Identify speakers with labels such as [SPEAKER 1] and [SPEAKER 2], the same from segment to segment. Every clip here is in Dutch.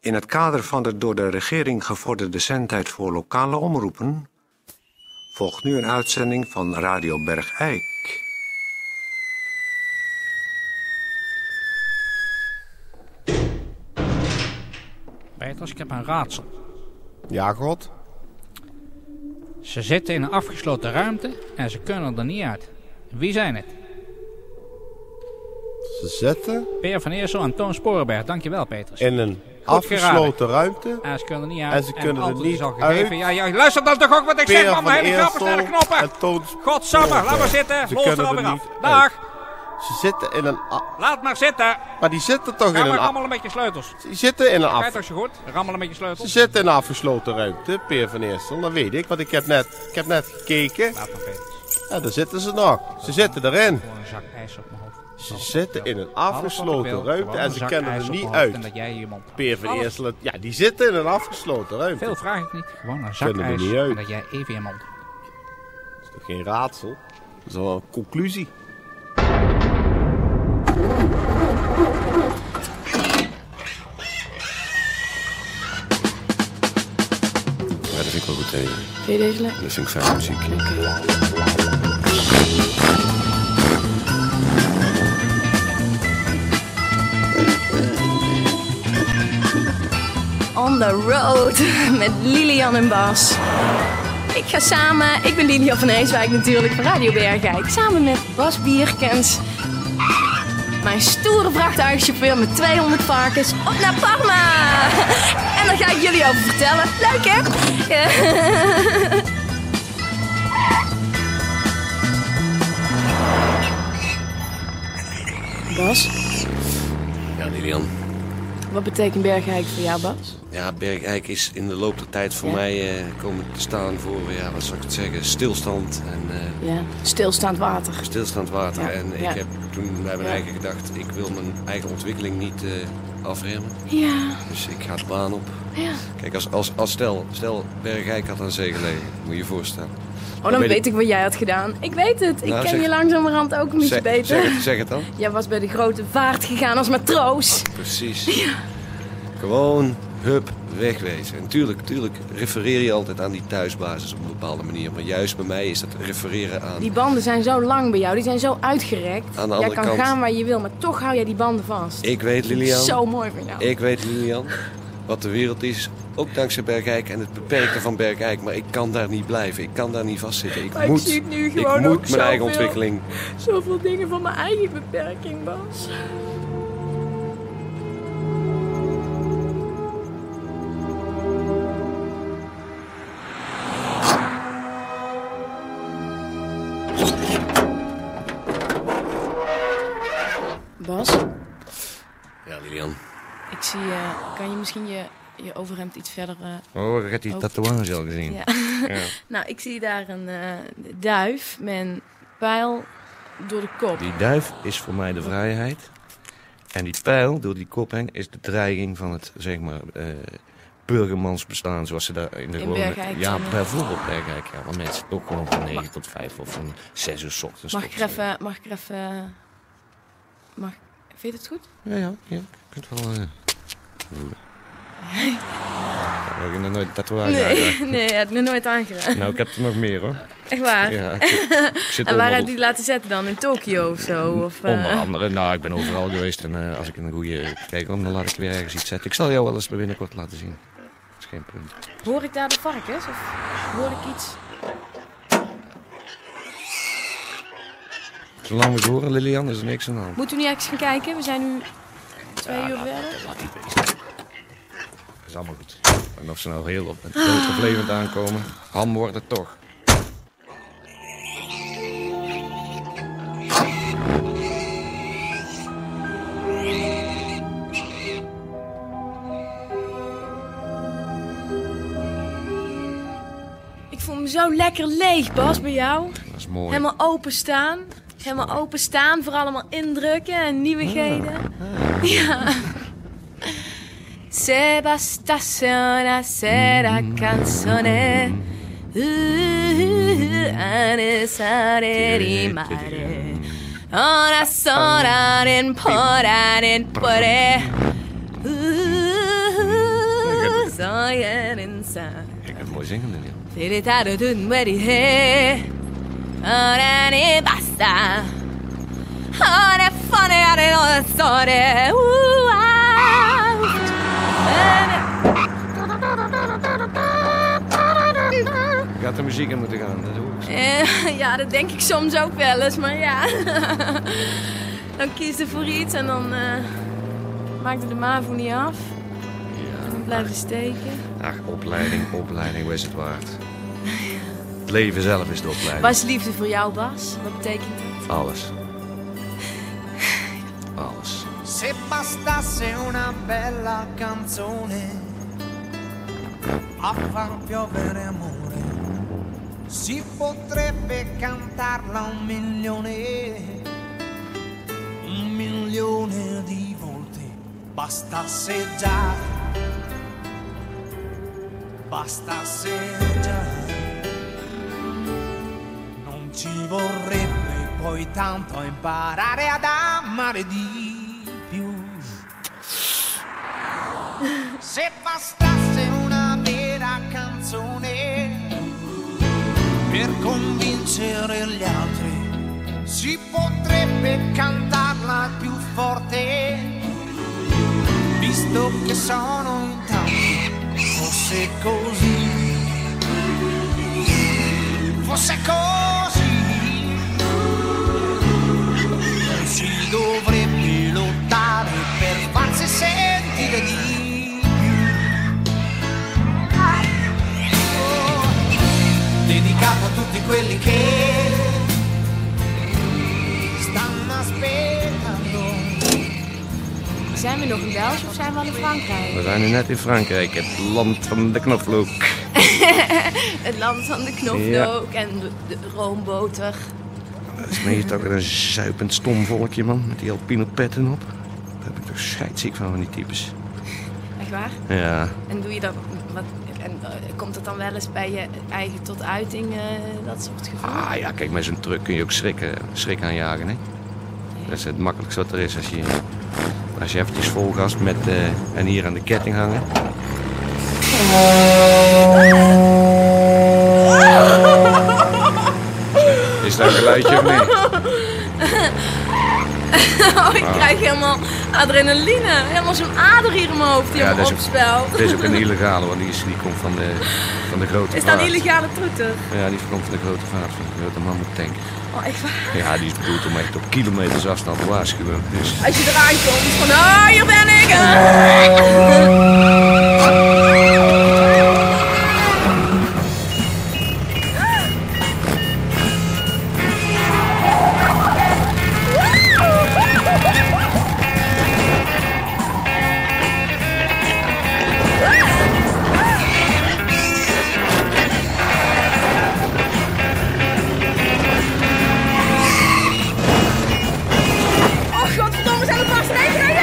[SPEAKER 1] In het kader van de door de regering gevorderde zendtijd voor lokale omroepen volgt nu een uitzending van Radio Bergijk.
[SPEAKER 2] Peters, ik heb een raadsel.
[SPEAKER 3] Ja, God.
[SPEAKER 2] Ze zitten in een afgesloten ruimte en ze kunnen er niet uit. Wie zijn het?
[SPEAKER 3] Ze zitten
[SPEAKER 2] Peer van Eersel en Toon Sporenberg. Dankjewel, Peters.
[SPEAKER 3] in een
[SPEAKER 2] geraden.
[SPEAKER 3] afgesloten ruimte.
[SPEAKER 2] En ze kunnen er niet uit.
[SPEAKER 3] En ze kunnen er
[SPEAKER 2] antwoord is
[SPEAKER 3] niet
[SPEAKER 2] al gegeven.
[SPEAKER 3] uit.
[SPEAKER 2] Ja, ja, luister dan toch ook wat ik zeg,
[SPEAKER 3] Peer
[SPEAKER 2] man.
[SPEAKER 3] van
[SPEAKER 2] Mijn hele grap is
[SPEAKER 3] Eersel
[SPEAKER 2] naar de knoppen.
[SPEAKER 3] en Toon
[SPEAKER 2] Godsamme, laat maar
[SPEAKER 3] Sporenberg.
[SPEAKER 2] zitten.
[SPEAKER 3] Ze
[SPEAKER 2] Los er
[SPEAKER 3] kunnen
[SPEAKER 2] alweer
[SPEAKER 3] er
[SPEAKER 2] af.
[SPEAKER 3] niet
[SPEAKER 2] Dag,
[SPEAKER 3] Ze zitten in een... a-
[SPEAKER 2] laat maar zitten.
[SPEAKER 3] Maar die zitten toch
[SPEAKER 2] Ga
[SPEAKER 3] in
[SPEAKER 2] maar
[SPEAKER 3] een... a-
[SPEAKER 2] rammelen met je sleutels.
[SPEAKER 3] Ze zitten in een af...
[SPEAKER 2] Kijk als je goed, rammelen met je
[SPEAKER 3] Ze
[SPEAKER 2] sleutels.
[SPEAKER 3] zitten in een afgesloten ruimte, Peer van Eersel. Dat weet ik, want ik heb net, ik heb net gekeken.
[SPEAKER 2] Laat maar, Peters.
[SPEAKER 3] En daar zitten ze nog. Ze zitten erin.
[SPEAKER 2] Gewoon een zak ijs op mijn hoofd.
[SPEAKER 3] Ze zitten in een
[SPEAKER 2] Alles wat ik wil,
[SPEAKER 3] afgesloten ruimte
[SPEAKER 2] gewoon
[SPEAKER 3] en
[SPEAKER 2] een
[SPEAKER 3] ze
[SPEAKER 2] zak
[SPEAKER 3] kennen
[SPEAKER 2] ijs
[SPEAKER 3] er
[SPEAKER 2] op
[SPEAKER 3] niet
[SPEAKER 2] mijn hoofd
[SPEAKER 3] uit.
[SPEAKER 2] En dat jij je mond
[SPEAKER 3] Peer van
[SPEAKER 2] Alles.
[SPEAKER 3] Eersel, ja, die zitten in een afgesloten ruimte.
[SPEAKER 2] Veel vraag ik niet. Gewoon een zak
[SPEAKER 3] Kunnen er
[SPEAKER 2] ijs
[SPEAKER 3] niet uit.
[SPEAKER 2] en dat jij even je mond
[SPEAKER 3] Dat is toch geen raadsel? Dat is wel een conclusie.
[SPEAKER 4] Ja, dat vind ik wel goed tegen.
[SPEAKER 5] Vind je deze lekker?
[SPEAKER 4] Dat vind ik fijne muziek.
[SPEAKER 5] On the road met Lilian en Bas. Ik ga samen, ik ben Lilian van Eeswijk natuurlijk van Radio Bergijk. Samen met Bas Bierkens. Mijn stoere vrachtwagenchauffeur met 200 varkens op naar Parma. En daar ga ik jullie over vertellen. Leuk hè? Bas,
[SPEAKER 4] Ja, Lilian.
[SPEAKER 5] wat betekent Bergijk voor jou Bas?
[SPEAKER 4] Ja, Bergijk is in de loop der tijd voor
[SPEAKER 5] Ja.
[SPEAKER 4] mij eh, komen te staan voor, ja, wat zou ik het zeggen, stilstand en eh,
[SPEAKER 5] Ja, stilstaand water.
[SPEAKER 4] stilstaand water.
[SPEAKER 5] Ja,
[SPEAKER 4] En ik
[SPEAKER 5] ja.
[SPEAKER 4] heb toen bij mijn
[SPEAKER 5] Ja.
[SPEAKER 4] eigen gedacht, ik wil mijn eigen ontwikkeling niet eh, afremmen.
[SPEAKER 5] Ja,
[SPEAKER 4] Dus ik ga de baan op.
[SPEAKER 5] ja.
[SPEAKER 4] Kijk, als, als, als stel, stel Bergijk had aan zee gelegen, moet je je voorstellen.
[SPEAKER 5] Oh, dan
[SPEAKER 4] Dan ben
[SPEAKER 5] weet
[SPEAKER 4] ik-
[SPEAKER 5] ik wat jij had gedaan. Ik weet het. Ik
[SPEAKER 4] Nou,
[SPEAKER 5] ken
[SPEAKER 4] zeg-
[SPEAKER 5] je langzamerhand ook een beetje
[SPEAKER 4] Zeg-
[SPEAKER 5] beter.
[SPEAKER 4] Zeg, het, zeg het dan.
[SPEAKER 5] Jij was bij de grote vaart gegaan als matroos.
[SPEAKER 4] Precies. Gewoon hup, wegwezen. En tuurlijk, tuurlijk refereer je altijd aan die thuisbasis op een bepaalde manier. Maar juist bij mij is dat refereren aan...
[SPEAKER 5] Die banden zijn zo lang bij jou. Die zijn zo uitgerekt.
[SPEAKER 4] Aan de
[SPEAKER 5] jij
[SPEAKER 4] andere
[SPEAKER 5] kan
[SPEAKER 4] kant-
[SPEAKER 5] gaan waar je wil, maar toch hou jij die banden vast.
[SPEAKER 4] Ik weet, Lilian.
[SPEAKER 5] Zo mooi van jou.
[SPEAKER 4] Ik weet, Lilian, wat de wereld is. Ook dankzij Bergijk en het beperkte van Bergijk. Maar ik kan daar niet blijven. Ik kan daar niet vastzitten. Ik
[SPEAKER 5] Maar ik
[SPEAKER 4] moet,
[SPEAKER 5] zie het nu
[SPEAKER 4] ik
[SPEAKER 5] gewoon
[SPEAKER 4] moet
[SPEAKER 5] ook
[SPEAKER 4] mijn
[SPEAKER 5] zoveel.
[SPEAKER 4] eigen ontwikkeling.
[SPEAKER 5] Zoveel dingen van mijn eigen beperking, Bas. Bas,
[SPEAKER 4] Ja, Lilian.
[SPEAKER 5] ik zie je. Kan je misschien je, je overhemd iets verder... eh,
[SPEAKER 4] Oh, ik heb die
[SPEAKER 5] Ook.
[SPEAKER 4] tatoeage al gezien.
[SPEAKER 5] ja. nou, ik zie daar een eh, duif met een pijl door de kop.
[SPEAKER 4] Die duif is voor mij de vrijheid. En die pijl door die kop heen is de dreiging van het, zeg maar, eh burgermans bestaan. Zoals ze daar in de
[SPEAKER 5] In
[SPEAKER 4] gewone-
[SPEAKER 5] Bergijk,
[SPEAKER 4] Ja,
[SPEAKER 5] eh.
[SPEAKER 4] bijvoorbeeld Bergijk. Ja, waar mensen ook gewoon van 9 tot 5 of van 6 uur 's ochtends.
[SPEAKER 5] Mag
[SPEAKER 4] tot,
[SPEAKER 5] ik er even... Mag ik er even... Mag... Vind je het goed?
[SPEAKER 4] eh, Ja, ja, ja. Je kunt wel eh, voelen. Ja, ik heb nog nooit een tatoeage
[SPEAKER 5] Nee,
[SPEAKER 4] aangeraakt.
[SPEAKER 5] nee, heb ik nog nooit aangeraakt.
[SPEAKER 4] Nou, ik heb er nog meer hoor.
[SPEAKER 5] Echt waar.
[SPEAKER 4] Ja, ik, zit- ik zit
[SPEAKER 5] Ah. En waar
[SPEAKER 4] helemaal-
[SPEAKER 5] heb je die laten zetten dan? In Tokio of zo? Of, eh,
[SPEAKER 4] Onder andere, nou, ik ben overal geweest en eh, als ik een goede kijk om, dan laat ik weer ergens iets zetten. Ik zal jou wel eens binnenkort laten zien. Dat is geen punt.
[SPEAKER 5] Hoor ik daar de varkens? Of hoor ik iets?
[SPEAKER 4] Zolang we het horen, Lilian, is er niks aan de hand.
[SPEAKER 5] Moeten we nu echt gaan kijken? We zijn nu twee uur verder.
[SPEAKER 4] Dat is allemaal goed. En of ze nou heel op dood of levend aankomen, ham wordt het toch.
[SPEAKER 5] Ik voel me zo lekker leeg, Bas, bij jou.
[SPEAKER 4] Dat is mooi.
[SPEAKER 5] Helemaal openstaan. Helemaal openstaan voor allemaal indrukken en nieuwigheden.
[SPEAKER 4] Ah.
[SPEAKER 5] Ja. Se basta sola sera canzone uh, uh, uh, anesare rimare Ora sola in pora in pore Uh, uh, staan.
[SPEAKER 4] Ik heb mooi zingen, Daniel.
[SPEAKER 5] Deritare tutto è Ora ne basta. Ora fare alle nostre storie. Uh, ah.
[SPEAKER 4] Ik had de muziek in moeten gaan, dat doe ik.
[SPEAKER 5] Eh, Ja, dat denk ik soms ook wel eens, maar ja. Dan kies je voor iets en dan eh, maakt het de MAVO niet af. En dan blijf je steken.
[SPEAKER 4] Ach, opleiding, opleiding, was het waard. Het leven zelf is de opleiding.
[SPEAKER 5] Wat is liefde voor jou, Bas? Wat betekent dat?
[SPEAKER 4] Alles. Alles.
[SPEAKER 6] Se bastasse una bella canzone a far piovere amore, si potrebbe cantarla un milione, un milione di volte, bastasse già, bastasse già. Non ci vorrebbe poi tanto imparare ad amare di più. Se bastasse una vera canzone per convincere gli altri, si potrebbe cantarla più forte, visto che sono in tanti, fosse così, fosse così, non si dovrebbe lottare per farsi sentire di più. Dedicato a tutti quelli che stanno aspettando.
[SPEAKER 5] Zijn we nog in België of zijn we al in Frankrijk?
[SPEAKER 4] We zijn nu net in Frankrijk, het land van de knoflook.
[SPEAKER 5] Het land van de knoflook en de, de roomboter.
[SPEAKER 4] Dat is meer toch weer een zuipend stom volkje, man. Met die alpino petten op. Daar heb ik toch scheidziek van, van die types.
[SPEAKER 5] Echt waar?
[SPEAKER 4] Ja,
[SPEAKER 5] En doe je dat? Wat, en eh, komt dat dan wel eens bij je eigen tot uiting, eh, dat soort gevoel?
[SPEAKER 4] Ah ja, kijk, met zo'n truck kun je ook schrikken, schrik aanjagen, hè? Dat is het makkelijkste wat er is. Als je, als je eventjes vol gas met eh, en hier aan de ketting hangen. Is dat een geluidje of niet?
[SPEAKER 5] Oh, ik krijg helemaal adrenaline. Helemaal zo'n ader hier in mijn hoofd die
[SPEAKER 4] Ja,
[SPEAKER 5] ja,
[SPEAKER 4] dat is ook-
[SPEAKER 5] opspelt.
[SPEAKER 4] Dit is ook een illegale, want die, is, die komt van de, van de grote
[SPEAKER 5] Is dat
[SPEAKER 4] vaart.
[SPEAKER 5] illegale toeter?
[SPEAKER 4] Ja, die komt van de grote vaart, van de grote mammoetank.
[SPEAKER 5] Oh, echt waar?
[SPEAKER 4] Ja, die is bedoeld om echt op kilometers afstand te waarschuwen. Dus
[SPEAKER 5] Als je eraan komt van, oh, hier ben ik. ah. Oh, godverdomme, zijn het maar snijden.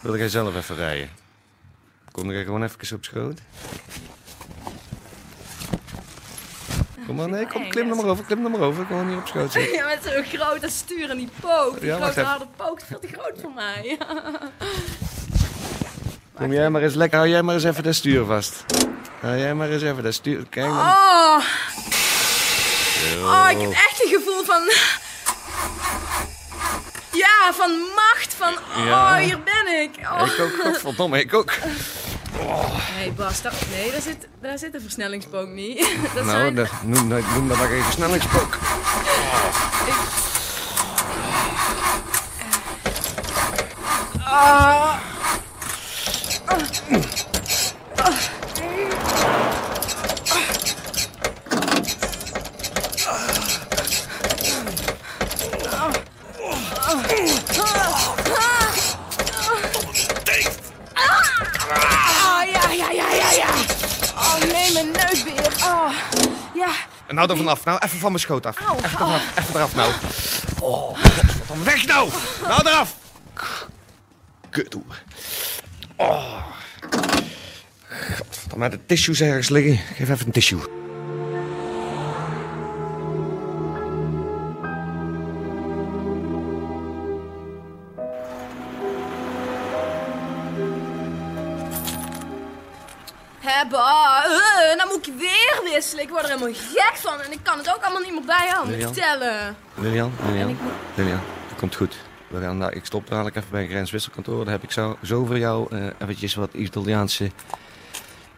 [SPEAKER 4] Wil jij zelf even rijden? Kom jij gewoon even op schoot? Kom maar, nee, kom, klim er maar over, klim er maar over. Gewoon hier op schoot zitten.
[SPEAKER 5] Ja, met zo'n grote stuur en die pook. Die
[SPEAKER 4] Ja, wacht
[SPEAKER 5] grote
[SPEAKER 4] even.
[SPEAKER 5] harde pook is veel te groot voor mij.
[SPEAKER 4] Kom jij maar eens lekker, hou jij maar eens even dat stuur vast. Hou jij maar eens even dat stuur, kijk maar.
[SPEAKER 5] Oh. oh, ik heb echt een gevoel van... Ja, van macht, van
[SPEAKER 4] Ja.
[SPEAKER 5] oh, hier ben ik. Oh.
[SPEAKER 4] Ik ook, godverdomme, ik ook.
[SPEAKER 5] Nee, Bas, dat, nee, daar zit, daar zit een versnellingspook niet. Dat
[SPEAKER 4] Nou,
[SPEAKER 5] zijn,
[SPEAKER 4] dat, noem, dat- noem dat maar even snellingspook.
[SPEAKER 5] Oh, ja, ja, ja, ja, ja. Oh, nee, mijn neusbeer. Oh, ja.
[SPEAKER 4] Nou, daar vanaf, nou, even van mijn schoot af.
[SPEAKER 5] Au,
[SPEAKER 4] Even eraf, even eraf nou. Oh, godverdomme, weg nou! Nou, eraf! kut hoe. Oh. Godverdamme, de tissues ergens liggen. Geef even een tissue.
[SPEAKER 5] Hé, ba, eh, nou moet ik weer wisselen. Ik word er helemaal gek van en ik kan het ook allemaal niet meer bijhouden.
[SPEAKER 4] Lilian?
[SPEAKER 5] Vertellen.
[SPEAKER 4] Lilian,
[SPEAKER 5] En
[SPEAKER 4] Lilian,
[SPEAKER 5] ik moet-
[SPEAKER 4] Lilian, dat komt goed. We gaan, nou, ik stop dadelijk even bij het grenswisselkantoor. Daar heb ik zo, zo voor jou eh, eventjes wat Italiaanse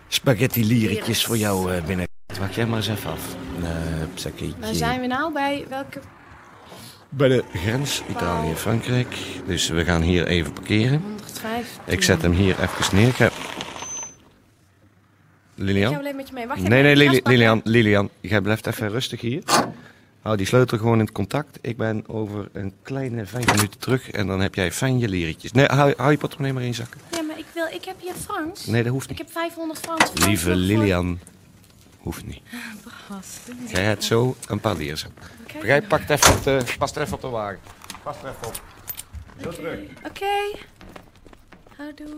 [SPEAKER 4] spaghetti lierikjes voor jou eh, binnen. Wacht jij maar eens even af. Eh, zakje.
[SPEAKER 5] Waar zijn we nou bij? Welke...
[SPEAKER 4] Bij de grens Italië-Frankrijk. Dus we gaan hier even parkeren.
[SPEAKER 5] 105.
[SPEAKER 4] Ik zet hem hier even neer. Ik ga-
[SPEAKER 5] Ik ga
[SPEAKER 4] Lilian?
[SPEAKER 5] wel even met je mee. Wacht
[SPEAKER 4] Oh. Nee,
[SPEAKER 5] even,
[SPEAKER 4] nee,
[SPEAKER 5] ik ga
[SPEAKER 4] Lili- Lilian,
[SPEAKER 5] pakken.
[SPEAKER 4] Lilian. Jij blijft even rustig hier. Hou die sleutel gewoon in het contact. Ik ben over een kleine vijf minuten terug en dan heb jij fijn je liertjes. Nee, hou, hou je portemonnee maar in je zakken.
[SPEAKER 5] Ja, maar ik wil... Ik heb hier Frans.
[SPEAKER 4] Nee, dat hoeft niet.
[SPEAKER 5] Ik heb 500 Frans. Frans
[SPEAKER 4] Lieve
[SPEAKER 5] nog voor-
[SPEAKER 4] Lilian, hoeft niet.
[SPEAKER 5] Gast, doe niet.
[SPEAKER 4] Jij hebt zo een paar liers.
[SPEAKER 5] Oké.
[SPEAKER 4] Jij pakt even op de, past even op de wagen.
[SPEAKER 5] Oké. Houdoe.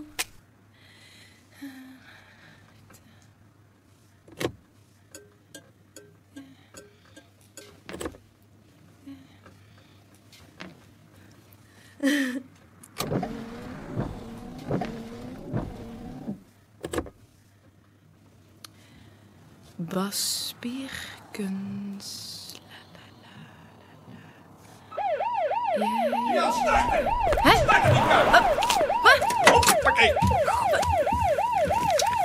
[SPEAKER 5] Bas Spierkens.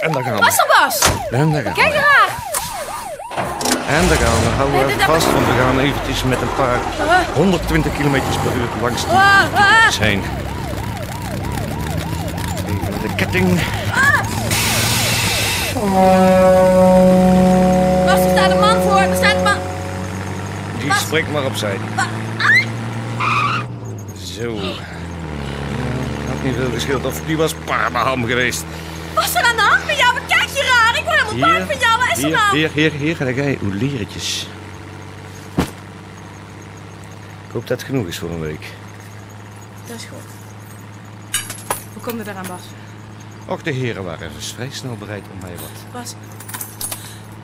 [SPEAKER 4] En daar gaan
[SPEAKER 5] Bas
[SPEAKER 4] we.
[SPEAKER 5] dan Bas!
[SPEAKER 4] En daar gaan we.
[SPEAKER 5] Kijk eraan!
[SPEAKER 4] En daar gaan we. Hou
[SPEAKER 5] Nee,
[SPEAKER 4] even
[SPEAKER 5] dat-
[SPEAKER 4] vast, want we gaan eventjes met een paar 120 kilometers per uur langs die
[SPEAKER 5] Ah, ah.
[SPEAKER 4] is heen. Even met de ketting.
[SPEAKER 5] Bas, er staat een man voor. Er staat een man.
[SPEAKER 4] Die spreekt maar opzij. Zo. Had niet veel geschild of die was paardenham geweest.
[SPEAKER 5] Wat is er aan de hand met jou? Wat kijk je raar? Ik word helemaal bang van jou. Wat is er
[SPEAKER 4] hier,
[SPEAKER 5] aan?
[SPEAKER 4] hier, hier, hier ga jij uw lieretjes. Ik hoop dat het genoeg is voor een week.
[SPEAKER 5] Dat is goed. Hoe komt het eraan, Bas?
[SPEAKER 4] Och, de heren waren even vrij snel bereid om mij wat
[SPEAKER 5] Bas,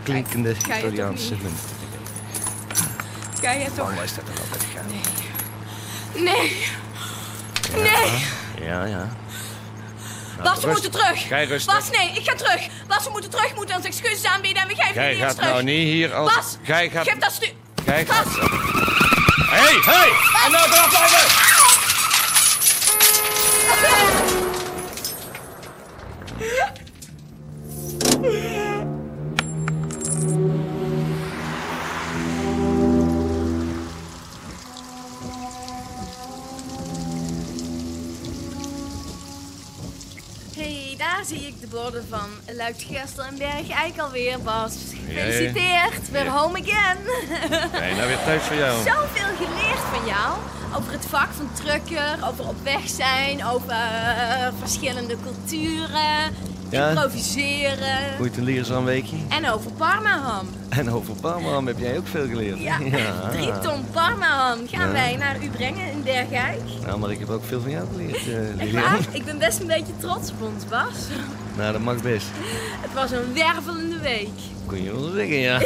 [SPEAKER 4] klinkende
[SPEAKER 5] je toch
[SPEAKER 4] Italiaanse
[SPEAKER 5] niet?
[SPEAKER 4] munt.
[SPEAKER 5] ga je toch...
[SPEAKER 4] Waar is dat dan altijd gegaan?
[SPEAKER 5] Nee. Nee.
[SPEAKER 4] Ja, ja.
[SPEAKER 5] Bas, we
[SPEAKER 4] rust.
[SPEAKER 5] moeten terug.
[SPEAKER 4] Ga je rustig.
[SPEAKER 5] Bas, nee. Ik ga terug. Bas, we moeten terug. We moeten ons excuses aanbieden en we geven
[SPEAKER 4] Jij
[SPEAKER 5] jullie eens
[SPEAKER 4] gaat
[SPEAKER 5] terug.
[SPEAKER 4] nou niet hier als...
[SPEAKER 5] Bas,
[SPEAKER 4] Jij gaat...
[SPEAKER 5] geef dat stu...
[SPEAKER 4] Jij gaat...
[SPEAKER 5] Bas,
[SPEAKER 4] Hé, hey, hé! Hey! En nou vanaf blijven!
[SPEAKER 5] Hé, hey, daar zie ik de borden van Luik Gestel en Bergeijk alweer, Bas. Gefeliciteerd, weer home again.
[SPEAKER 4] Nee, nou weer tijd voor jou.
[SPEAKER 5] Zoveel geleerd van jou. Over het vak van trucker, over op weg zijn, over eh, verschillende culturen,
[SPEAKER 4] Ja.
[SPEAKER 5] improviseren.
[SPEAKER 4] Goed, een lier zo'n weekje.
[SPEAKER 5] En over Parmaham.
[SPEAKER 4] En over Palmam heb jij ook veel geleerd.
[SPEAKER 5] Ja, drie ton Parmaham gaan wij naar u brengen in Bergijk.
[SPEAKER 4] Nou, maar ik heb ook veel van jou geleerd, eh,
[SPEAKER 5] Echt
[SPEAKER 4] Lilian.
[SPEAKER 5] waar? Ik ben best een beetje trots op ons, Bas.
[SPEAKER 4] Nou, dat mag best.
[SPEAKER 5] Het was een wervelende week.
[SPEAKER 4] Kun je wel zeggen, ja.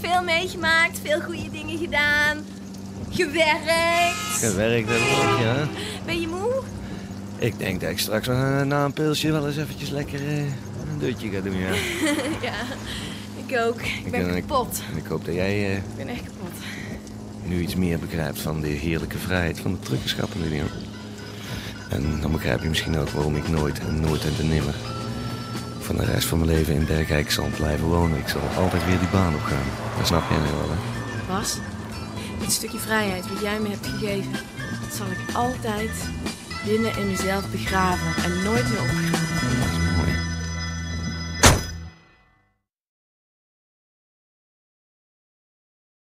[SPEAKER 5] Veel meegemaakt, veel goede dingen gedaan. Gewerkt.
[SPEAKER 4] Gewerkt heb ik ook, ja.
[SPEAKER 5] Ben je moe?
[SPEAKER 4] Ik denk dat ik straks eh, na een pilsje wel eens eventjes lekker eh, een dutje ga doen, ja.
[SPEAKER 5] Ja, ik ook. Ik ben
[SPEAKER 4] eh,
[SPEAKER 5] kapot.
[SPEAKER 4] En ik hoop dat jij eh,
[SPEAKER 5] Ik ben echt kapot.
[SPEAKER 4] nu iets meer begrijpt van de heerlijke vrijheid van de truckerschappen, Lilian. En dan begrijp je misschien ook waarom ik nooit en nooit en te nimmer van de rest van mijn leven in Bergijk zal blijven wonen. Ik zal altijd weer die baan opgaan. Dat snap jij nu wel, hè?
[SPEAKER 5] Bas, dit stukje vrijheid wat jij me hebt gegeven, dat zal ik altijd binnen in mezelf begraven en nooit meer opgraven.
[SPEAKER 4] Dat is